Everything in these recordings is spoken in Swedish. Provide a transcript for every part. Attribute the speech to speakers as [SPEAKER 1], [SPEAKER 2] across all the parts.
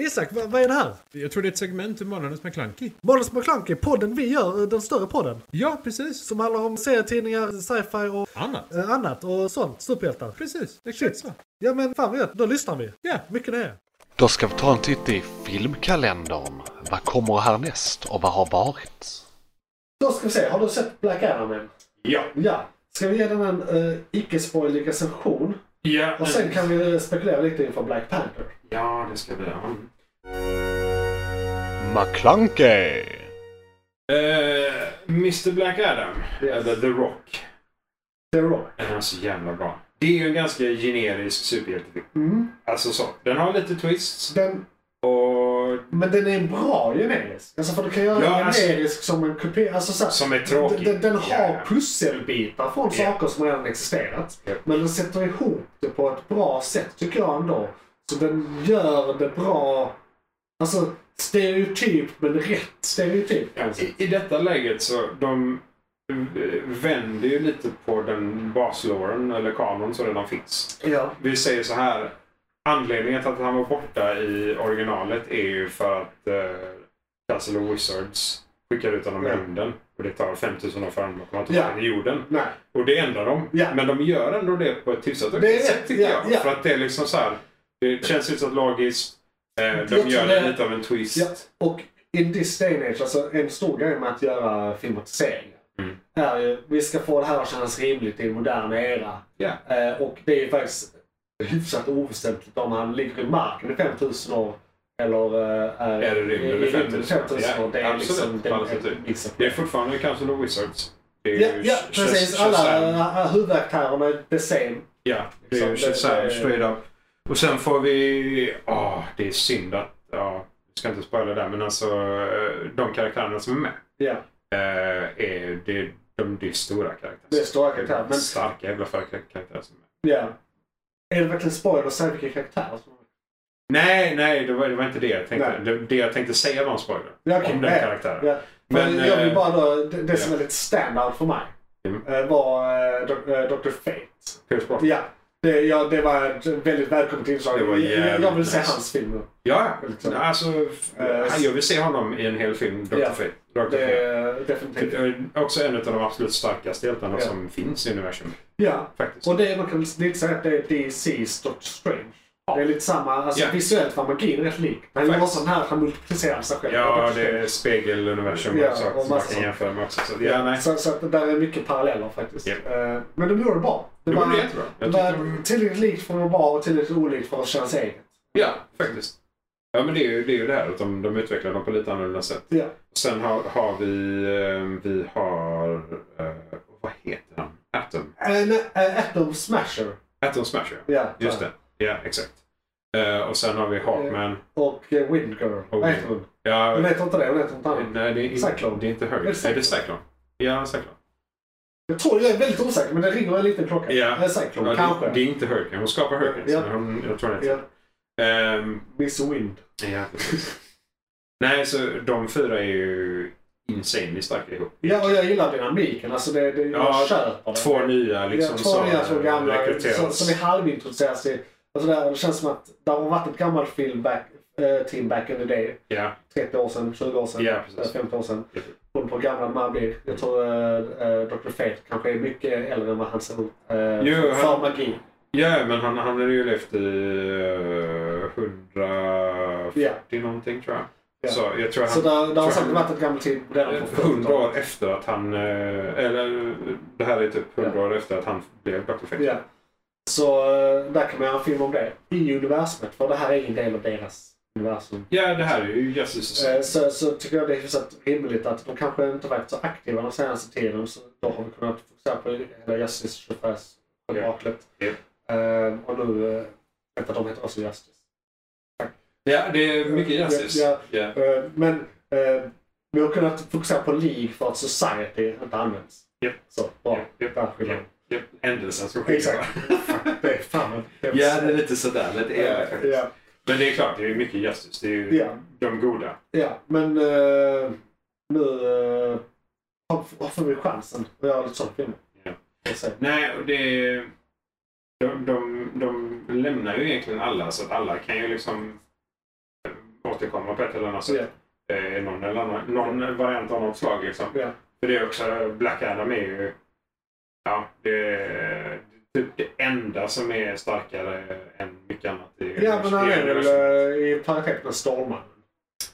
[SPEAKER 1] Isak, vad, vad är det här?
[SPEAKER 2] Jag tror det är ett segment ur Månadens McKlunky.
[SPEAKER 1] Månadens McKlunky, podden vi gör, eh, den större podden.
[SPEAKER 2] Ja, precis.
[SPEAKER 1] Som handlar om serietidningar, sci-fi och
[SPEAKER 2] Annat.
[SPEAKER 1] eh, annat och sånt. Superhjältar.
[SPEAKER 2] Precis, exakt så.
[SPEAKER 1] Ja men fan vad gött, då lyssnar vi.
[SPEAKER 2] Ja.
[SPEAKER 1] Mycket det är.
[SPEAKER 3] Då ska vi ta en titt i filmkalendern. Vad kommer härnäst och vad har varit?
[SPEAKER 1] Då ska vi se, har du sett Black Adam än?
[SPEAKER 2] Ja.
[SPEAKER 1] Ja. Ska vi ge den en eh, icke-spoilig recension?
[SPEAKER 2] Ja,
[SPEAKER 1] Och sen kan vi eh, spekulera lite inför Black Panther.
[SPEAKER 2] ja det ska vi göra.
[SPEAKER 3] McClunkey!
[SPEAKER 2] Mr Eh, Black Adam, eller The Rock,
[SPEAKER 1] The Rock.
[SPEAKER 2] den är så jävla bra. Det är ju en ganska generisk superhjältefilm.
[SPEAKER 1] Mm.
[SPEAKER 2] Alltså så. Den har lite twists
[SPEAKER 1] Den,
[SPEAKER 2] och
[SPEAKER 1] men den är bra generisk. Alltså för du kan göra
[SPEAKER 2] Ja,
[SPEAKER 1] en
[SPEAKER 2] alltså-
[SPEAKER 1] generisk som en kupé. Alltså så här,
[SPEAKER 2] som är tråkig.
[SPEAKER 1] Den, den har
[SPEAKER 2] Ja.
[SPEAKER 1] pusselbitar från
[SPEAKER 2] Ja.
[SPEAKER 1] saker som redan existerat.
[SPEAKER 2] Ja.
[SPEAKER 1] Men den sätter ihop det på ett bra sätt tycker jag ändå. Så den gör det bra. Alltså stereotypt men rätt stereotyp. kan man säga.
[SPEAKER 2] I, I detta läget så de eh, vänder ju lite på den basloren eller kanon som redan finns.
[SPEAKER 1] Ja.
[SPEAKER 2] Vi säger så här. Anledningen till att han var borta i originalet är ju för att eh, Castle of Wizards skickar ut honom i
[SPEAKER 1] Ja.
[SPEAKER 2] rymden. Och det tar 5000 år för honom att komma
[SPEAKER 1] Ja.
[SPEAKER 2] tillbaka till jorden.
[SPEAKER 1] Nej.
[SPEAKER 2] Och det ändrar de.
[SPEAKER 1] Ja.
[SPEAKER 2] Men de gör ändå det på ett hyfsat
[SPEAKER 1] Det är
[SPEAKER 2] okej sätt
[SPEAKER 1] rätt.
[SPEAKER 2] tycker
[SPEAKER 1] Ja,
[SPEAKER 2] jag.
[SPEAKER 1] ja.
[SPEAKER 2] För att det är liksom så här. Det känns hyfsat logiskt. Eh, de
[SPEAKER 1] tror
[SPEAKER 2] gör
[SPEAKER 1] det-
[SPEAKER 2] lite av en twist.
[SPEAKER 1] Ja, och in this day and age, alltså en stor grej med att göra filmatiseringar
[SPEAKER 2] Mm.
[SPEAKER 1] är ju, vi ska få det här att kännas rimligt i en modern era.
[SPEAKER 2] Ja.
[SPEAKER 1] Eh, och det är ju faktiskt hyfsat oväsentligt om han ligger i marken i 5000 år eller eh, är
[SPEAKER 2] Är i rymden i 5000 år.
[SPEAKER 1] 5000 år. Det
[SPEAKER 2] Ja,
[SPEAKER 1] är liksom...
[SPEAKER 2] absolut.
[SPEAKER 1] det är-
[SPEAKER 2] Alltså, typ.
[SPEAKER 1] liksom-
[SPEAKER 2] Det är fortfarande kanske The Wizards. Det är
[SPEAKER 1] Ja,
[SPEAKER 2] ju
[SPEAKER 1] ja,
[SPEAKER 2] Shaz-
[SPEAKER 1] precis.
[SPEAKER 2] Shazam.
[SPEAKER 1] Alla eh, huvudaktörerna är the same.
[SPEAKER 2] Ja, det är ju
[SPEAKER 1] Liksom, det-
[SPEAKER 2] Shazam
[SPEAKER 1] det-
[SPEAKER 2] straight up. Och sen får vi... Ja, det är synd att... Ja, jag ska inte spoila där men alltså eh, de karaktärerna som är med.
[SPEAKER 1] Ja,
[SPEAKER 2] eh, är, det, är- de, det är stora karaktärer.
[SPEAKER 1] det är stora karaktärer. Men
[SPEAKER 2] Starka jävla karaktärer som är med.
[SPEAKER 1] ja. Är det verkligen spoiler att säga vilka karaktärer som
[SPEAKER 2] Nej, nej, det var, det var inte det jag tänkte.
[SPEAKER 1] Nej.
[SPEAKER 2] Det, det jag tänkte säga var en spoiler.
[SPEAKER 1] Ja, okej,
[SPEAKER 2] om den
[SPEAKER 1] nej.
[SPEAKER 2] karaktären.
[SPEAKER 1] Ja. Men,
[SPEAKER 2] Men,
[SPEAKER 1] jag vill
[SPEAKER 2] eh,
[SPEAKER 1] bara då, det, det
[SPEAKER 2] ja.
[SPEAKER 1] som är lite standout för mig
[SPEAKER 2] Mm.
[SPEAKER 1] eh, var eh, Dr. eh, Dr. Fate.
[SPEAKER 2] Pierce Brosnan.
[SPEAKER 1] Ja, det, ja, det var ett väldigt välkommet inslag.
[SPEAKER 2] Det var
[SPEAKER 1] Jag,
[SPEAKER 2] jävligt
[SPEAKER 1] jag vill se
[SPEAKER 2] nice.
[SPEAKER 1] hans film.
[SPEAKER 2] Ja,
[SPEAKER 1] Liksom.
[SPEAKER 2] alltså. f-
[SPEAKER 1] Eh,
[SPEAKER 2] jag vill se honom i en hel film, Dr.
[SPEAKER 1] Ja.
[SPEAKER 2] Fate. Dr.
[SPEAKER 1] Det
[SPEAKER 2] Fate.
[SPEAKER 1] är definitivt.
[SPEAKER 2] Det är också en av de absolut starkaste hjältarna
[SPEAKER 1] Ja.
[SPEAKER 2] som finns i universum.
[SPEAKER 1] Ja.
[SPEAKER 2] Faktiskt.
[SPEAKER 1] Och det är- man kan lite säga att det är DC's Doctor Strange. Det är lite samma, alltså
[SPEAKER 2] Ja.
[SPEAKER 1] visuellt var magin rätt lik. Men det var
[SPEAKER 2] Faktiskt.
[SPEAKER 1] sån här att han multiplicerade sig själv.
[SPEAKER 2] ja,
[SPEAKER 1] Dr.
[SPEAKER 2] det är
[SPEAKER 1] Strange.
[SPEAKER 2] spegeluniversum
[SPEAKER 1] Ja,
[SPEAKER 2] och
[SPEAKER 1] och
[SPEAKER 2] saker som man
[SPEAKER 1] massa
[SPEAKER 2] kan
[SPEAKER 1] sånt.
[SPEAKER 2] jämföra med också. Så, att- ja, nej.
[SPEAKER 1] Så, så att det där är mycket paralleller faktiskt.
[SPEAKER 2] Ja.
[SPEAKER 1] Eh, Men de gjorde det bra.
[SPEAKER 2] Det
[SPEAKER 1] var,
[SPEAKER 2] var jättebra.
[SPEAKER 1] det
[SPEAKER 2] Jag
[SPEAKER 1] var
[SPEAKER 2] tyckte de-
[SPEAKER 1] tillräckligt likt för att vara bra och tillräckligt olikt för att kännas eget.
[SPEAKER 2] Ja, faktiskt. Ja, men det är ju det, är ju det här att de, de utvecklar dem på lite annorlunda sätt.
[SPEAKER 1] Ja.
[SPEAKER 2] Sen har, har vi... eh, Vi har... eh, Vad heter han? Atom.
[SPEAKER 1] En, en Atom eh, Smasher.
[SPEAKER 2] Atom Smasher.
[SPEAKER 1] Ja,
[SPEAKER 2] Just det. Ja, exakt. Eh, och sen har vi Hawkman.
[SPEAKER 1] Och eh, Wind Girl.
[SPEAKER 2] Och Mm.
[SPEAKER 1] Vad heter hon?
[SPEAKER 2] Ja,
[SPEAKER 1] Hon heter inte det, hon heter något annat.
[SPEAKER 2] nej, det är,
[SPEAKER 1] Cyclone.
[SPEAKER 2] in- det är inte
[SPEAKER 1] Är
[SPEAKER 2] Hurricane.
[SPEAKER 1] det
[SPEAKER 2] Är det Cyclone? Ja, Cyclone.
[SPEAKER 1] Jag tror, jag är väldigt osäker men det ringer en liten klocka.
[SPEAKER 2] Ja.
[SPEAKER 1] Eh, Cyclone,
[SPEAKER 2] Ja,
[SPEAKER 1] kanske.
[SPEAKER 2] Det, det är inte Hurricane. Hon skapar Hurricane.
[SPEAKER 1] Ja.
[SPEAKER 2] men Hon, jag tror det.
[SPEAKER 1] Ja,
[SPEAKER 2] Ja. Ehm,
[SPEAKER 1] Miss Wind.
[SPEAKER 2] ja, precis. nej, så de fyra är ju insanely starka ihop.
[SPEAKER 1] Ja, och jag gillar dynamiken. Alltså det, det,
[SPEAKER 2] Ja,
[SPEAKER 1] jag köper det.
[SPEAKER 2] Två nya liksom
[SPEAKER 1] ja, två
[SPEAKER 2] som eh,
[SPEAKER 1] nya som gamla
[SPEAKER 2] rekryteras.
[SPEAKER 1] som, som är halvintroduceras i... Alltså där, det känns som att det har varit ett gammalt film back, eh, team back in the day.
[SPEAKER 2] Ja,
[SPEAKER 1] 30 år sedan, 20 år sedan,
[SPEAKER 2] Ja, precis.
[SPEAKER 1] eh, 50 år sedan.
[SPEAKER 2] Ja.
[SPEAKER 1] Beroende på hur gammal man blir. Jag tror eh, eh, Dr. Fate kanske är mycket äldre än vad han ser ut. eh, för
[SPEAKER 2] han-
[SPEAKER 1] magi.
[SPEAKER 2] ja men han, han hade ju levt i uh, 140 någonting tror jag.
[SPEAKER 1] Ja.
[SPEAKER 2] Så jag tror han,
[SPEAKER 1] Så där, där har
[SPEAKER 2] tror
[SPEAKER 1] säkert
[SPEAKER 2] han-
[SPEAKER 1] varit ett gammalt team redan på 40
[SPEAKER 2] 100 år efter att han... eh, Eller det här är typ 100 år efter att han blev Dr. Fate.
[SPEAKER 1] Ja. Så eh, där kan man göra en film om det. I universumet, för det här är en del av deras universum.
[SPEAKER 2] Ja, det här är ju Jesus.
[SPEAKER 1] Eh, Så, så tycker jag det är hyfsat rimligt att de kanske inte varit så aktiva den senaste tiden. Så då har vi kunnat fokusera på hela Justice 25-miraklet.
[SPEAKER 2] Ja.
[SPEAKER 1] Och nu... eh, Vänta, de heter också Justice.
[SPEAKER 2] Ja, det är mycket Jesus.
[SPEAKER 1] Ja.
[SPEAKER 2] Ja.
[SPEAKER 1] Eh, Men eh, vi har kunnat fokusera på League för att Society inte används.
[SPEAKER 2] Japp.
[SPEAKER 1] Så, bra.
[SPEAKER 2] Japp, japp,
[SPEAKER 1] Där skiljer
[SPEAKER 2] japp. Ja, Händelsen som
[SPEAKER 1] vi. Exakt. Det är fan vad hemskt.
[SPEAKER 2] Ja, det är lite sådär. Lite elakt
[SPEAKER 1] Eh,
[SPEAKER 2] faktiskt.
[SPEAKER 1] ja,
[SPEAKER 2] Men det är klart, det är mycket Jesus. Det är ju
[SPEAKER 1] ja,
[SPEAKER 2] de goda.
[SPEAKER 1] ja. Men eh, nu eh, har- har får vi chansen att göra lite sånt film.
[SPEAKER 2] Ja.
[SPEAKER 1] Och se.
[SPEAKER 2] Nej, och det är... De, de, de lämnar ju egentligen alla, så att alla kan ju liksom eh, återkomma på ett eller annat sätt.
[SPEAKER 1] Ja.
[SPEAKER 2] Eh, någon, eller annan, någon variant av något slag. Liksom.
[SPEAKER 1] Ja.
[SPEAKER 2] För det är också, Black Adam är ju ja, det, är typ det enda som är starkare än mycket annat. I,
[SPEAKER 1] Ja, men han
[SPEAKER 2] i
[SPEAKER 1] är väl
[SPEAKER 2] universum.
[SPEAKER 1] eh, i paritet med Stålmannen.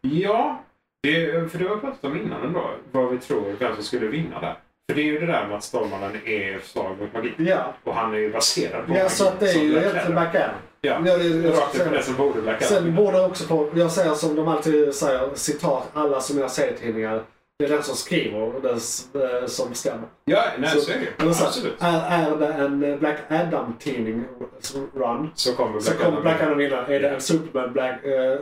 [SPEAKER 2] Ja, det, för det har vi pratat om innan ändå. Vad vi tror vem som skulle vinna där. För det är ju det där med att Stormaren är slag mot magi.
[SPEAKER 1] Ja.
[SPEAKER 2] Och han är ju baserad på
[SPEAKER 1] ja,
[SPEAKER 2] magi.
[SPEAKER 1] så att det är
[SPEAKER 2] som
[SPEAKER 1] ju
[SPEAKER 2] Black
[SPEAKER 1] egentligen
[SPEAKER 2] Adam.
[SPEAKER 1] Black Adam.
[SPEAKER 2] Ja,
[SPEAKER 1] Ja, det, jag
[SPEAKER 2] rakt upp
[SPEAKER 1] ska
[SPEAKER 2] på det
[SPEAKER 1] säga.
[SPEAKER 2] som borde Black Adam
[SPEAKER 1] Sen
[SPEAKER 2] vinna.
[SPEAKER 1] borde jag också på, jag säger som de alltid säger, citat, alla som jag säger tidningar. Det är den som skriver och den s- eh, som bestämmer.
[SPEAKER 2] Ja, nej, så,
[SPEAKER 1] Så-
[SPEAKER 2] är det ju.
[SPEAKER 1] Men så här,
[SPEAKER 2] Absolut.
[SPEAKER 1] Är, är det en Black Adam-tidning som run
[SPEAKER 2] Så kommer Black
[SPEAKER 1] så kommer
[SPEAKER 2] Adam
[SPEAKER 1] Black
[SPEAKER 2] vinna.
[SPEAKER 1] Adam vinna. Är det en Superman Black, eh, eh,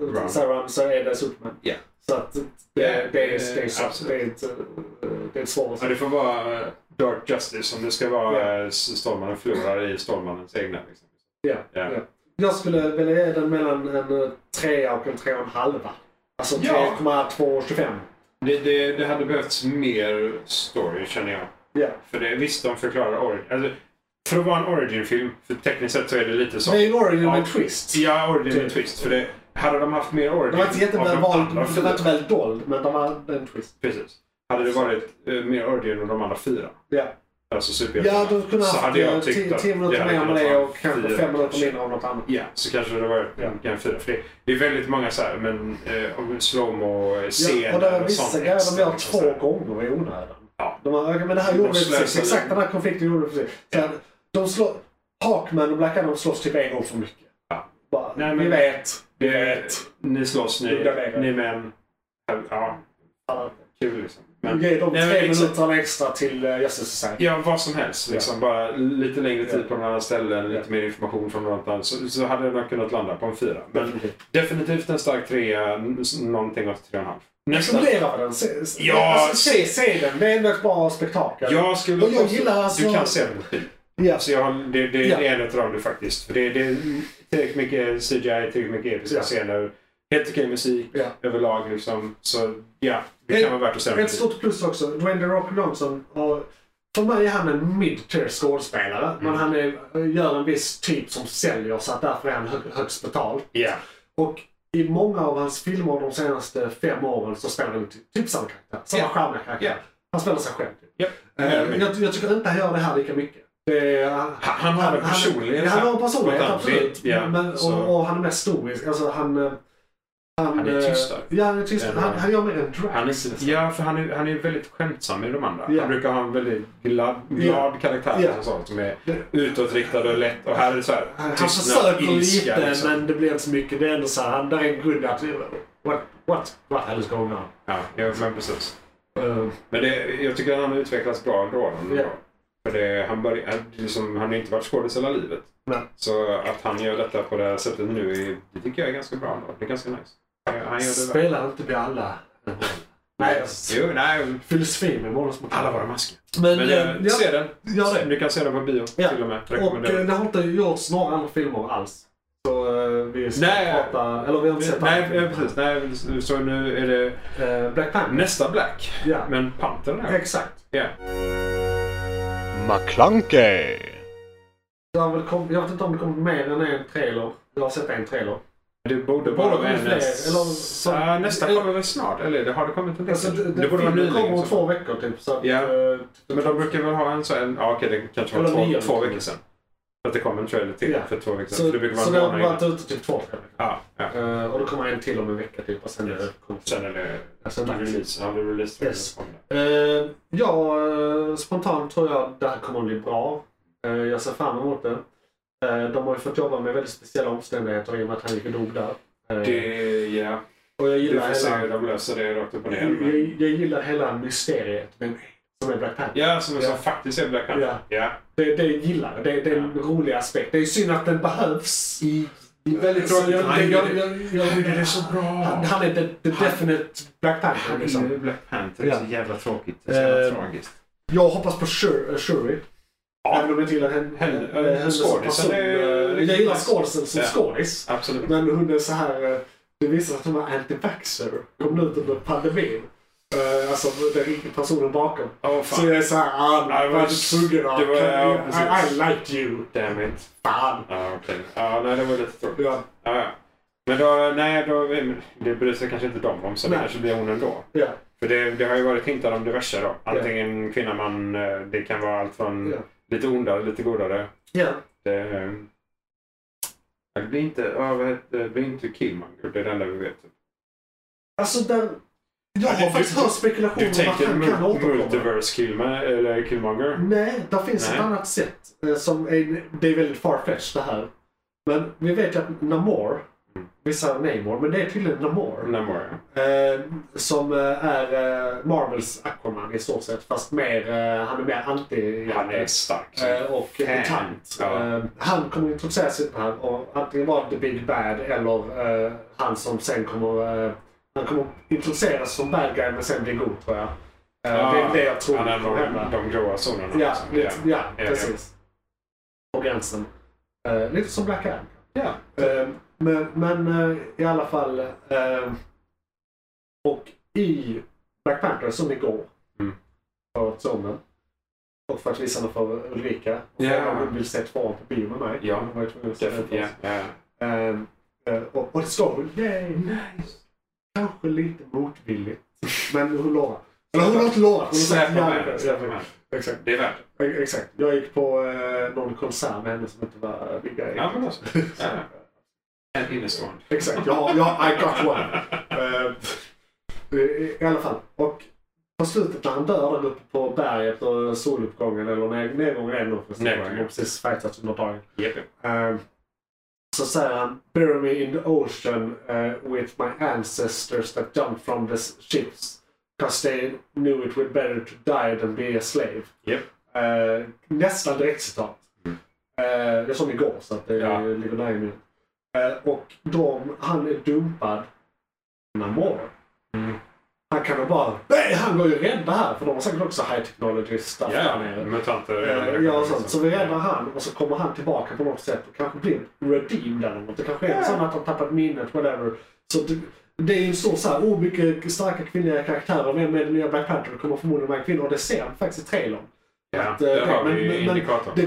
[SPEAKER 2] Run.
[SPEAKER 1] så här run så är det Superman.
[SPEAKER 2] Ja.
[SPEAKER 1] Så att det, det, är- det, är- det, är,
[SPEAKER 2] Eh,
[SPEAKER 1] så-
[SPEAKER 2] absolut.
[SPEAKER 1] det är ett, eh, det är ett svårt.
[SPEAKER 2] Ja, det får vara eh, Dark Justice om det ska vara yeah. Stormannen förlorar i Stormannens egna. Liksom.
[SPEAKER 1] Ja,
[SPEAKER 2] Ja.
[SPEAKER 1] ja. Jag skulle vilja ge den mellan en eh, trea och en trea och en halva. Alltså
[SPEAKER 2] Ja.
[SPEAKER 1] 3,225.
[SPEAKER 2] Det, det, det hade behövts mer story känner jag.
[SPEAKER 1] Ja.
[SPEAKER 2] För det, visst, de förklarar origin. Alltså, för att vara en origin-film, för tekniskt sett så är det lite så.
[SPEAKER 1] Det är ju Origin med
[SPEAKER 2] Ja.
[SPEAKER 1] twist.
[SPEAKER 2] Ja, origin och twist. För det, hade de haft mer
[SPEAKER 1] Den
[SPEAKER 2] origin
[SPEAKER 1] var inte jätteväl
[SPEAKER 2] av de
[SPEAKER 1] vald,
[SPEAKER 2] andra
[SPEAKER 1] den var
[SPEAKER 2] fyra.
[SPEAKER 1] inte väl dold, men den var en twist.
[SPEAKER 2] Precis. Hade det varit eh, mer origin av de andra fyra,
[SPEAKER 1] Ja,
[SPEAKER 2] alltså
[SPEAKER 1] ja
[SPEAKER 2] superhjältarna,
[SPEAKER 1] du kunde
[SPEAKER 2] så
[SPEAKER 1] haft
[SPEAKER 2] hade jag
[SPEAKER 1] eh,
[SPEAKER 2] tyckt
[SPEAKER 1] ti-
[SPEAKER 2] att
[SPEAKER 1] 10 minuter
[SPEAKER 2] hade
[SPEAKER 1] mer om
[SPEAKER 2] kunnat
[SPEAKER 1] det
[SPEAKER 2] vara
[SPEAKER 1] och kanske
[SPEAKER 2] fyra,
[SPEAKER 1] 5 minuter
[SPEAKER 2] kanske.
[SPEAKER 1] mindre om något annat.
[SPEAKER 2] Ja, så kanske det var
[SPEAKER 1] Ja.
[SPEAKER 2] en fyra. För det, det är väldigt många så här, men eh, om slowmo-scener
[SPEAKER 1] Ja, och det var vissa
[SPEAKER 2] sånt
[SPEAKER 1] grejer de
[SPEAKER 2] extra,
[SPEAKER 1] gör
[SPEAKER 2] liksom,
[SPEAKER 1] två
[SPEAKER 2] så här.
[SPEAKER 1] gånger i onödan.
[SPEAKER 2] Ja.
[SPEAKER 1] De bara, "Okej, men det här
[SPEAKER 2] De
[SPEAKER 1] gjorde vi precis.
[SPEAKER 2] slösar
[SPEAKER 1] Exakt
[SPEAKER 2] lite.
[SPEAKER 1] den här konflikten gjorde vi precis.
[SPEAKER 2] Ja.
[SPEAKER 1] Sen, de slår, Hawkman och Black Adam slåss typ en gång för mycket.
[SPEAKER 2] Ja.
[SPEAKER 1] Bara,
[SPEAKER 2] Nej,
[SPEAKER 1] vi
[SPEAKER 2] men-
[SPEAKER 1] vet, vi
[SPEAKER 2] Det är-
[SPEAKER 1] vet.
[SPEAKER 2] Ni slåss, ni,
[SPEAKER 1] Dubbla vägar.
[SPEAKER 2] ni män. Ja, kul liksom. Men,
[SPEAKER 1] Ge dem
[SPEAKER 2] Nej, men
[SPEAKER 1] tre
[SPEAKER 2] liksom-
[SPEAKER 1] minuter extra till uh, Justice Society.
[SPEAKER 2] ja, vad som helst. Liksom, Bara lite längre tid på några ställen,
[SPEAKER 1] Ja.
[SPEAKER 2] lite mer information från något annat. Så, så hade jag kunnat landa på en fyra. Men
[SPEAKER 1] Definitivt.
[SPEAKER 2] definitivt en stark trea, n- någonting åt tre och en halv. Nästa.
[SPEAKER 1] Fundera på den. Se, se-
[SPEAKER 2] Ja,
[SPEAKER 1] alltså, se, se den. Det är ändå ett bra spektakel.
[SPEAKER 2] Jag skulle
[SPEAKER 1] Och jag gillar alltså-
[SPEAKER 2] Du kan se den på film.
[SPEAKER 1] Ja.
[SPEAKER 2] Alltså jag, har- det, det,
[SPEAKER 1] Ja.
[SPEAKER 2] det är en utav dem det faktiskt. För det, det är tillräckligt mycket CGI, tillräckligt mycket episka
[SPEAKER 1] Ja.
[SPEAKER 2] scener. Helt okej musik
[SPEAKER 1] Ja.
[SPEAKER 2] överlag liksom. Så ja, det
[SPEAKER 1] Ett-
[SPEAKER 2] kan vara värt att se. den på
[SPEAKER 1] Ett
[SPEAKER 2] film.
[SPEAKER 1] stort plus också. Dwayne The Rock Johnson har... För mig är han en mid-tier skådespelare. Men
[SPEAKER 2] Mm.
[SPEAKER 1] han är, gör en viss typ som säljer så att därför är han hö- högst betald.
[SPEAKER 2] Ja,
[SPEAKER 1] Och i många av hans filmer de senaste fem åren så spelar han typ, typ samma karaktär. Samma
[SPEAKER 2] Ja.
[SPEAKER 1] charmiga karaktär.
[SPEAKER 2] Ja.
[SPEAKER 1] Han spelar sig själv. Typ.
[SPEAKER 2] Ja.
[SPEAKER 1] Eh,
[SPEAKER 2] Ja, men-
[SPEAKER 1] jag, jag tycker inte han gör det här lika mycket. Det är, han,
[SPEAKER 2] Han, han har en personlighet.
[SPEAKER 1] Han, han har en
[SPEAKER 2] På
[SPEAKER 1] personlighet,
[SPEAKER 2] ett annat
[SPEAKER 1] absolut.
[SPEAKER 2] sätt, ja,
[SPEAKER 1] men,
[SPEAKER 2] så-
[SPEAKER 1] och, och han är mest stoisk. Alltså, han, eh, han,
[SPEAKER 2] Han är
[SPEAKER 1] eh,
[SPEAKER 2] tystare.
[SPEAKER 1] Ja, han är tystare.
[SPEAKER 2] Än,
[SPEAKER 1] Han, han gör mer en drag.
[SPEAKER 2] Han är, ja, för han är, han är väldigt skämtsam i de andra.
[SPEAKER 1] Ja.
[SPEAKER 2] Han brukar ha en väldigt glad, glad karaktär.
[SPEAKER 1] Ja.
[SPEAKER 2] och sånt, som är
[SPEAKER 1] Det-
[SPEAKER 2] utåtriktad och lätt. Och här är det så här,
[SPEAKER 1] han, han
[SPEAKER 2] tystnad,
[SPEAKER 1] försöker
[SPEAKER 2] ilska,
[SPEAKER 1] lite,
[SPEAKER 2] liksom.
[SPEAKER 1] men det blir inte så mycket. Det är ändå så här, han, där är en grund att... What, what, what hell is going on?
[SPEAKER 2] Ja, ja, men precis.
[SPEAKER 1] Eh,
[SPEAKER 2] Men det, jag tycker att han har utvecklats bra ändå. Han,
[SPEAKER 1] Ja.
[SPEAKER 2] För det, han, börj, han, liksom, han har inte varit skådis hela livet.
[SPEAKER 1] Nej.
[SPEAKER 2] Så att han gör detta på det här sättet nu, är- det tycker jag är ganska bra ändå. Det är ganska nice. Han gör det väl.
[SPEAKER 1] spelar inte vi alla en roll? Nej, alltså,
[SPEAKER 2] Jo, nej.
[SPEAKER 1] filosofi med många små...
[SPEAKER 2] Alla våra masker.
[SPEAKER 1] Men,
[SPEAKER 2] Men
[SPEAKER 1] eh,
[SPEAKER 2] eh,
[SPEAKER 1] ja,
[SPEAKER 2] se den.
[SPEAKER 1] gör det.
[SPEAKER 2] Du kan se den på bio
[SPEAKER 1] Ja.
[SPEAKER 2] till och med.
[SPEAKER 1] Och
[SPEAKER 2] Rekommenderar.
[SPEAKER 1] eh, det har inte gjorts några andra filmer alls. Så eh, vi ska
[SPEAKER 2] Nej.
[SPEAKER 1] prata... Eller vi har inte sett
[SPEAKER 2] Nej,
[SPEAKER 1] andra
[SPEAKER 2] ja,
[SPEAKER 1] filmer.
[SPEAKER 2] precis. Nej, så nu är det
[SPEAKER 1] Eh, Black Panther.
[SPEAKER 2] nästa Black.
[SPEAKER 1] Ja.
[SPEAKER 2] Men Pantern här.
[SPEAKER 1] Exakt.
[SPEAKER 2] Ja.
[SPEAKER 3] McClunkey!
[SPEAKER 1] Det har väl kom, jag vet inte om det kommit mer än en trailer. Jag har sett en trailer.
[SPEAKER 2] Det borde
[SPEAKER 1] Det
[SPEAKER 2] vara
[SPEAKER 1] borde
[SPEAKER 2] en...
[SPEAKER 1] bli fler, eller som-
[SPEAKER 2] Ja, nästa kommer väl snart? Eller det har det kommit en del?
[SPEAKER 1] Alltså, det,
[SPEAKER 2] borde
[SPEAKER 1] det,
[SPEAKER 2] vara
[SPEAKER 1] filmen kommer
[SPEAKER 2] nyligen. så.
[SPEAKER 1] om två veckor typ. Så att,
[SPEAKER 2] Ja.
[SPEAKER 1] eh,
[SPEAKER 2] Men de brukar väl ha en så en... Ja, okej, det kanske var
[SPEAKER 1] Eller nya.
[SPEAKER 2] två, två veckor sedan. Att det kom en trailer till
[SPEAKER 1] Ja.
[SPEAKER 2] för två veckor sedan.
[SPEAKER 1] så,
[SPEAKER 2] för det brukar
[SPEAKER 1] så
[SPEAKER 2] vara
[SPEAKER 1] det
[SPEAKER 2] en
[SPEAKER 1] har
[SPEAKER 2] månad innan.
[SPEAKER 1] varit ute typ två, tre veckor.
[SPEAKER 2] Ja, ja.
[SPEAKER 1] Eh, och då kommer en till om en vecka typ. Och sen
[SPEAKER 2] Yes.
[SPEAKER 1] yes. kommer
[SPEAKER 2] Sen är det
[SPEAKER 1] Alltså, dags.
[SPEAKER 2] release. Ja, det är release.
[SPEAKER 1] Yes. Eh, ja, eh, spontant tror jag det här kommer bli bra. Eh, jag ser fram emot det. Eh, de har ju fått jobba med väldigt speciella omständigheter i och med att han gick och dog där. Eh,
[SPEAKER 2] Det... Ja.
[SPEAKER 1] och jag
[SPEAKER 2] Vi
[SPEAKER 1] gillar
[SPEAKER 2] får se
[SPEAKER 1] hela,
[SPEAKER 2] hur de löser det rakt upp och ner.
[SPEAKER 1] jag,
[SPEAKER 2] Men...
[SPEAKER 1] jag gillar hela mysteriet med som är Black Panther.
[SPEAKER 2] Ja, som jag sa,
[SPEAKER 1] Ja.
[SPEAKER 2] faktiskt är Black Panther.
[SPEAKER 1] Ja,
[SPEAKER 2] Ja.
[SPEAKER 1] det, det gillar jag. Det, det är en rolig aspekt. Det är synd att den behövs. I,
[SPEAKER 2] Det är väldigt tråkigt.
[SPEAKER 1] Jag,
[SPEAKER 2] Han
[SPEAKER 1] jag, jag,
[SPEAKER 2] gjorde-
[SPEAKER 1] jag,
[SPEAKER 2] han gjorde det så bra.
[SPEAKER 1] Han, han är the, the definite Black Panther. Liksom.
[SPEAKER 2] Black Panther.
[SPEAKER 1] Ja.
[SPEAKER 2] Så jävla tråkigt.
[SPEAKER 1] Eh,
[SPEAKER 2] tragiskt.
[SPEAKER 1] Jag hoppas på Shuri. Shuri.
[SPEAKER 2] Ja.
[SPEAKER 1] Även om jag inte gillar henne,
[SPEAKER 2] Henne-
[SPEAKER 1] eh, henne som
[SPEAKER 2] skådisen
[SPEAKER 1] person.
[SPEAKER 2] är-
[SPEAKER 1] Eh, Jag gillar skådisen som
[SPEAKER 2] Ja.
[SPEAKER 1] skådis.
[SPEAKER 2] Absolut.
[SPEAKER 1] Men hon är så här... eh, Det visar sig att hon var anti-vaxxer. Kom ut under pandemin. Eh, Alltså den riktiga personen bakom.
[SPEAKER 2] Åh
[SPEAKER 1] Så
[SPEAKER 2] fan.
[SPEAKER 1] jag är så här, ah,
[SPEAKER 2] Ja, det var-
[SPEAKER 1] var du tvungen att...
[SPEAKER 2] det var- ja,
[SPEAKER 1] I, I like you.
[SPEAKER 2] Damn it.
[SPEAKER 1] Fan.
[SPEAKER 2] Ja, okej. Ja, nej, det var lite tråkigt.
[SPEAKER 1] Ja.
[SPEAKER 2] Ja, ja. Men då, nej, då, det bryr sig kanske inte de om så det
[SPEAKER 1] Nej.
[SPEAKER 2] kanske blir hon ändå.
[SPEAKER 1] Ja.
[SPEAKER 2] För det, det har ju varit hintar om diverse då. Antingen kvinna, man. eh, Det kan vara allt från
[SPEAKER 1] Ja.
[SPEAKER 2] lite ondare, lite godare.
[SPEAKER 1] Ja.
[SPEAKER 2] Det, eh, ja, det blir inte, ja, vad heter, det blir inte Killmonger. Det är det enda vi vet.
[SPEAKER 1] Alltså den... Jag har
[SPEAKER 2] Ja, du-
[SPEAKER 1] faktiskt hört
[SPEAKER 2] Du
[SPEAKER 1] spekulationer om att
[SPEAKER 2] tänker
[SPEAKER 1] han kan
[SPEAKER 2] mul-
[SPEAKER 1] återkomma.
[SPEAKER 2] multiverse Killma, eller Killmonger?
[SPEAKER 1] Nej, det finns
[SPEAKER 2] Nej.
[SPEAKER 1] ett annat sätt. eh, Som är, det är väldigt farfetched det här. Men vi vet ju att Namor,
[SPEAKER 2] Mm.
[SPEAKER 1] vissa Namor, men det är tydligen Namor.
[SPEAKER 2] Namor, ja.
[SPEAKER 1] Eh, som eh, är eh, Marvels Aquaman i stort sett. Fast mer, eh, han är mer anti
[SPEAKER 2] Han är stark. så.
[SPEAKER 1] eh, och
[SPEAKER 2] Fan.
[SPEAKER 1] tant.
[SPEAKER 2] Ja.
[SPEAKER 1] Eh, han kommer att introduceras i den här och antingen vara The Big Bad eller eh, han som sen kommer... Eh, han kommer introduceras som bad guy men sen bli god tror jag. Eh, det är det jag tror
[SPEAKER 2] Han är
[SPEAKER 1] kommer hända.
[SPEAKER 2] de, de gråa zonerna.
[SPEAKER 1] Ja,
[SPEAKER 2] liksom.
[SPEAKER 1] lite, ja,
[SPEAKER 2] ja.
[SPEAKER 1] precis. På gränsen. Eh, lite som Black Adam.
[SPEAKER 2] Ja.
[SPEAKER 1] Eh, men men eh, i alla fall. eh, och i Black Panther som igår.
[SPEAKER 2] Mm.
[SPEAKER 1] För sonen. Och för att visa den för Ulrika. Och
[SPEAKER 2] Ja.
[SPEAKER 1] fråga om hon vill se tvåan på bio med mig.
[SPEAKER 2] Ja,
[SPEAKER 1] Hon var ju tvungen att se den
[SPEAKER 2] Definitivt. Ja.
[SPEAKER 1] först.
[SPEAKER 2] Ja.
[SPEAKER 1] Eh, eh, och, och det står hon. Yay! Kanske lite motvilligt. Men hon lovar. Eller hon har inte lovat. Hon har sagt
[SPEAKER 2] Släpa
[SPEAKER 1] ja.
[SPEAKER 2] med den, släpa
[SPEAKER 1] Ja,
[SPEAKER 2] med
[SPEAKER 1] Exakt.
[SPEAKER 2] den. Det är värt det.
[SPEAKER 1] E- Exakt. Jag gick på eh, någon konsert med henne som inte var Vigga
[SPEAKER 2] Ja, men alltså.
[SPEAKER 1] Så-
[SPEAKER 2] ja. En innestående.
[SPEAKER 1] Exakt. Ja, ja, I got one. Eh, i- I alla fall. Och på slutet när han dör där uppe på berget och soluppgången eller ned- nedgången är det nog förresten.
[SPEAKER 2] Nedgången.
[SPEAKER 1] De har precis fightats under dagen.
[SPEAKER 2] Japp.
[SPEAKER 1] Eh, så säger han Bury me in the ocean eh, with my ancestors that jumped from the ships. Because they knew it would better to die than be a slave.
[SPEAKER 2] Japp.
[SPEAKER 1] Eh, nästan direkt citat.
[SPEAKER 2] Mm.
[SPEAKER 1] Eh, jag såg det igår så att det
[SPEAKER 2] Ja.
[SPEAKER 1] ligger där i min. Eh, och de, han är dumpad Namor.
[SPEAKER 2] Mm.
[SPEAKER 1] Han kan då bara, nej han går ju att rädda här för de har säkert också high technology stuff
[SPEAKER 2] Ja,
[SPEAKER 1] där nere.
[SPEAKER 2] mutanter.
[SPEAKER 1] Eh, Ja, och sånt. Så vi räddar han och så kommer han tillbaka på något sätt och kanske blir redeemed eller något. Det kanske är
[SPEAKER 2] Ja.
[SPEAKER 1] så att han tappat minnet, whatever. Så det, det är ju så så här, oh, mycket starka kvinnliga karaktärer. Vem är den nya Black Panther? Det kommer förmodligen vara en kvinna och det ser man faktiskt i trailern.
[SPEAKER 2] Ja,
[SPEAKER 1] Att, eh,
[SPEAKER 2] det
[SPEAKER 1] det-
[SPEAKER 2] har vi
[SPEAKER 1] men-
[SPEAKER 2] ju
[SPEAKER 1] men-
[SPEAKER 2] indikatorn.
[SPEAKER 1] det-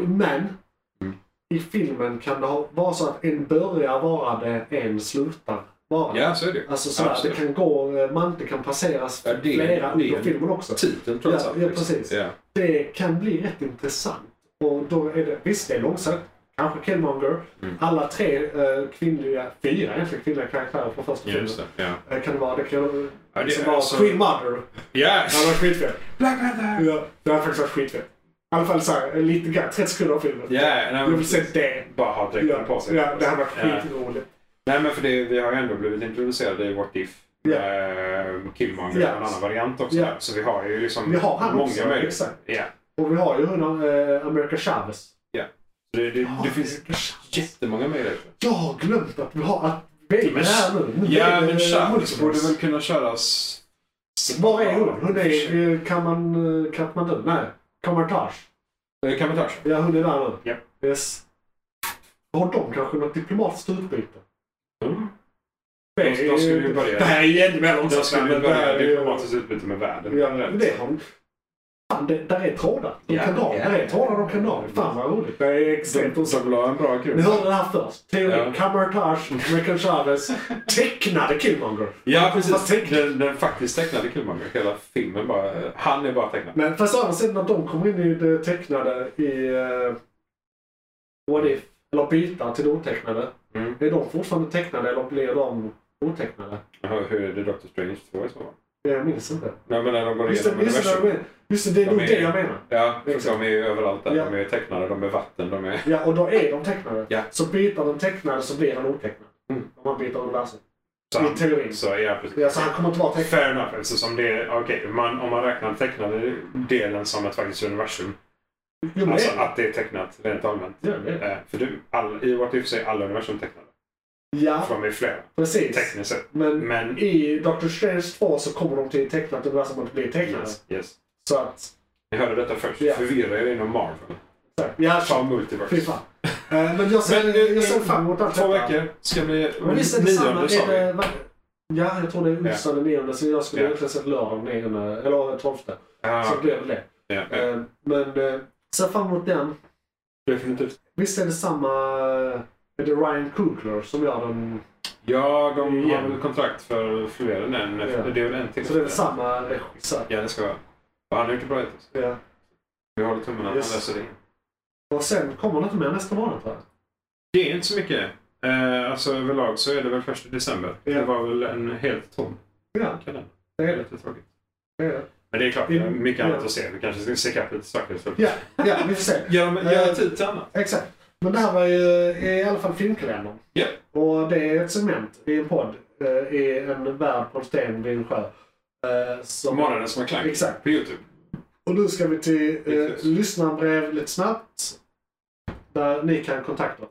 [SPEAKER 2] men-
[SPEAKER 1] Men
[SPEAKER 2] Mm.
[SPEAKER 1] i filmen kan det ha, vara så att en börjar vara det, en slutar vara det.
[SPEAKER 2] Ja, så är det ju.
[SPEAKER 1] Alltså sådär, det
[SPEAKER 2] Absolut.
[SPEAKER 1] kan gå, eh, Mante kan passeras
[SPEAKER 2] Ja, det-
[SPEAKER 1] flera
[SPEAKER 2] det-
[SPEAKER 1] under filmen också.
[SPEAKER 2] Titeln
[SPEAKER 1] Ja, ja, precis.
[SPEAKER 2] Ja.
[SPEAKER 1] det kan bli rätt intressant. Och då är det, visst, det är långsökt. Kanske Killmonger.
[SPEAKER 2] Mm.
[SPEAKER 1] Alla tre eh, kvinnliga, fyra egentligen kvinnliga karaktärer från första filmen.
[SPEAKER 2] Just det. Ja.
[SPEAKER 1] Eh, Kan det vara. Det kan
[SPEAKER 2] det
[SPEAKER 1] liksom
[SPEAKER 2] är
[SPEAKER 1] vara
[SPEAKER 2] alltså-
[SPEAKER 1] Queen Mother. Det hade
[SPEAKER 2] Yes!
[SPEAKER 1] varit skitfett.
[SPEAKER 2] Black Panther!
[SPEAKER 1] Ja, det hade faktiskt varit skitfett. I alla fall så här, eh, lite grann, 30 sekunder av filmen.
[SPEAKER 2] Ja, nej,
[SPEAKER 1] Jag
[SPEAKER 2] men
[SPEAKER 1] vill se det.
[SPEAKER 2] bara ha dräkten på
[SPEAKER 1] Ja,
[SPEAKER 2] sig.
[SPEAKER 1] ja, det hade varit
[SPEAKER 2] Ja.
[SPEAKER 1] skitroligt.
[SPEAKER 2] Nej, men för det, vi har ju ändå blivit introducerade i What If.
[SPEAKER 1] Ja.
[SPEAKER 2] eh, Killmonger,
[SPEAKER 1] Ja.
[SPEAKER 2] en annan variant också.
[SPEAKER 1] Ja.
[SPEAKER 2] Så vi har ju liksom
[SPEAKER 1] Vi har han
[SPEAKER 2] många
[SPEAKER 1] också,
[SPEAKER 2] möjligheter.
[SPEAKER 1] exakt.
[SPEAKER 2] Ja.
[SPEAKER 1] Och vi har ju hon, eh, America Chavez.
[SPEAKER 2] Så det, det,
[SPEAKER 1] Ja,
[SPEAKER 2] det finns
[SPEAKER 1] America Chavez.
[SPEAKER 2] jättemånga möjligheter.
[SPEAKER 1] Jag har glömt att vi har att vi är
[SPEAKER 2] Men-
[SPEAKER 1] här nu. nu.
[SPEAKER 2] Ja,
[SPEAKER 1] är det
[SPEAKER 2] men Charles
[SPEAKER 1] multiverse.
[SPEAKER 2] borde väl kunna köras...
[SPEAKER 1] Var är hon? Hon är i Kaman, eh, Kathmandu? Nej, Kamartage.
[SPEAKER 2] Eh, Kapitage.
[SPEAKER 1] Ja, hon är där nu.
[SPEAKER 2] Ja.
[SPEAKER 1] Yes. Har de kanske något diplomatiskt utbyte?
[SPEAKER 2] Mm.
[SPEAKER 1] Det
[SPEAKER 2] De- de skulle ju
[SPEAKER 1] är-
[SPEAKER 2] börja-
[SPEAKER 1] Det här är ju ännu mer
[SPEAKER 2] De
[SPEAKER 1] långsamt.
[SPEAKER 2] skulle
[SPEAKER 1] men
[SPEAKER 2] ju
[SPEAKER 1] det här
[SPEAKER 2] börja
[SPEAKER 1] är ju-
[SPEAKER 2] diplomatiskt utbyte med världen.
[SPEAKER 1] Ja, men det har de. Fan, det, där är trådar. De
[SPEAKER 2] Ja,
[SPEAKER 1] kan dra.
[SPEAKER 2] ja.
[SPEAKER 1] Där är trådar de kan dra. Fan vad roligt. Det är
[SPEAKER 2] De,
[SPEAKER 1] extremt roligt.
[SPEAKER 2] de la en bra grund.
[SPEAKER 1] Ni hörde det här först. Teori,
[SPEAKER 2] Ja.
[SPEAKER 1] Kamartage, American Chavez. Tecknade Killmonger.
[SPEAKER 2] Ja,
[SPEAKER 1] Fast
[SPEAKER 2] precis.
[SPEAKER 1] tänk-
[SPEAKER 2] Den, den faktiskt tecknade Killmonger. Hela filmen bara... Han är bara tecknad.
[SPEAKER 1] Men fast å andra sidan, när de kommer in i det tecknade i uh, What If, eller byter till det otecknade.
[SPEAKER 2] Mm.
[SPEAKER 1] Är de fortfarande tecknade eller blir de otecknade?
[SPEAKER 2] Hur hur är det Doctor Strange 2 i så fall?
[SPEAKER 1] Jag minns inte.
[SPEAKER 2] Nej, men när de går
[SPEAKER 1] Just det,
[SPEAKER 2] igenom
[SPEAKER 1] just det,
[SPEAKER 2] universum.
[SPEAKER 1] det, just det, det är
[SPEAKER 2] De
[SPEAKER 1] nog
[SPEAKER 2] är-
[SPEAKER 1] det jag menar.
[SPEAKER 2] Ja, för
[SPEAKER 1] Exakt.
[SPEAKER 2] de är ju överallt där.
[SPEAKER 1] Ja.
[SPEAKER 2] De är ju tecknade, de är vatten, de är...
[SPEAKER 1] Ja, och då är de tecknade.
[SPEAKER 2] Ja.
[SPEAKER 1] Så byter den tecknade så blir den otecknad.
[SPEAKER 2] Mm.
[SPEAKER 1] Om man byter universum.
[SPEAKER 2] Så,
[SPEAKER 1] I teorin.
[SPEAKER 2] så ja, precis.
[SPEAKER 1] Ja, så han kommer inte vara tecknad.
[SPEAKER 2] Fair enough, eftersom det är... Okej, man, om man räknar den tecknade delen som ett faktiskt universum.
[SPEAKER 1] Jo, men
[SPEAKER 2] Alltså
[SPEAKER 1] det-
[SPEAKER 2] att det är tecknat rent allmänt.
[SPEAKER 1] Ja, det är det.
[SPEAKER 2] Eh, För du, all, i What If så är alla universum tecknade.
[SPEAKER 1] Ja,
[SPEAKER 2] För de är flera,
[SPEAKER 1] precis.
[SPEAKER 2] tekniskt sett.
[SPEAKER 1] Men
[SPEAKER 2] Men...
[SPEAKER 1] i Doctor Strange 2 så kommer de till ett tecknat universum och blir tecknade.
[SPEAKER 2] Yes, yes.
[SPEAKER 1] Så att...
[SPEAKER 2] Ni hörde detta först.
[SPEAKER 1] Ja.
[SPEAKER 2] Förvirra er inom Marvel.
[SPEAKER 1] Ja,
[SPEAKER 2] Ta
[SPEAKER 1] Fy
[SPEAKER 2] multiverse.
[SPEAKER 1] fan. Eh, Men jag ser,
[SPEAKER 2] Men, eh,
[SPEAKER 1] jag ser fram emot allt
[SPEAKER 2] Två
[SPEAKER 1] detta.
[SPEAKER 2] veckor ska bli...
[SPEAKER 1] Men visst är det samma?
[SPEAKER 2] sa vi.
[SPEAKER 1] Är det, va- ja, jag tror det är onsdag den 9 så jag skulle
[SPEAKER 2] Ja.
[SPEAKER 1] egentligen sett lördag den 9 eller 12.
[SPEAKER 2] Ja,
[SPEAKER 1] Så det blev väl det.
[SPEAKER 2] ja, ja.
[SPEAKER 1] Eh, Men eh, ser fram emot den.
[SPEAKER 2] Definitivt.
[SPEAKER 1] Visst är det samma Är det eh, Ryan Coogler som gör den?
[SPEAKER 2] Ja, de
[SPEAKER 1] Ja.
[SPEAKER 2] har väl kontrakt för fler än en.
[SPEAKER 1] Ja.
[SPEAKER 2] Det är väl en till.
[SPEAKER 1] Så det är väl samma regissör?
[SPEAKER 2] Ja, det ska vara. Ja, Han har gjort det bra hittills.
[SPEAKER 1] Ja.
[SPEAKER 2] Vi håller tummarna att
[SPEAKER 1] Yes.
[SPEAKER 2] han löser det.
[SPEAKER 1] Och sen kommer något mer nästa månad va?
[SPEAKER 2] Det är inte så mycket. Eh, alltså överlag så är det väl första december.
[SPEAKER 1] Ja.
[SPEAKER 2] Det var väl en helt tom
[SPEAKER 1] Ja,
[SPEAKER 2] kalender.
[SPEAKER 1] det är det.
[SPEAKER 2] Lite tråkigt.
[SPEAKER 1] det är det.
[SPEAKER 2] Men det är klart, det är mycket
[SPEAKER 1] Ja.
[SPEAKER 2] annat att se. Vi kanske ska se kapp lite saker. Så.
[SPEAKER 1] Ja, ja, vi får se.
[SPEAKER 2] Gör, typ
[SPEAKER 1] Eh.
[SPEAKER 2] gör tid till annat.
[SPEAKER 1] Exakt. Men det här var ju eh, i alla fall filmkalendern.
[SPEAKER 2] Ja.
[SPEAKER 1] Och det är ett segment i en podd eh, i en värld på en sten vid en sjö. Eh, som-
[SPEAKER 2] Morgonen som har klang.
[SPEAKER 1] Exakt.
[SPEAKER 2] På Youtube.
[SPEAKER 1] Och nu ska vi till eh,
[SPEAKER 2] Precis.
[SPEAKER 1] lyssnarbrev lite snabbt. Där ni kan kontakta oss.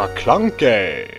[SPEAKER 3] McClunkey!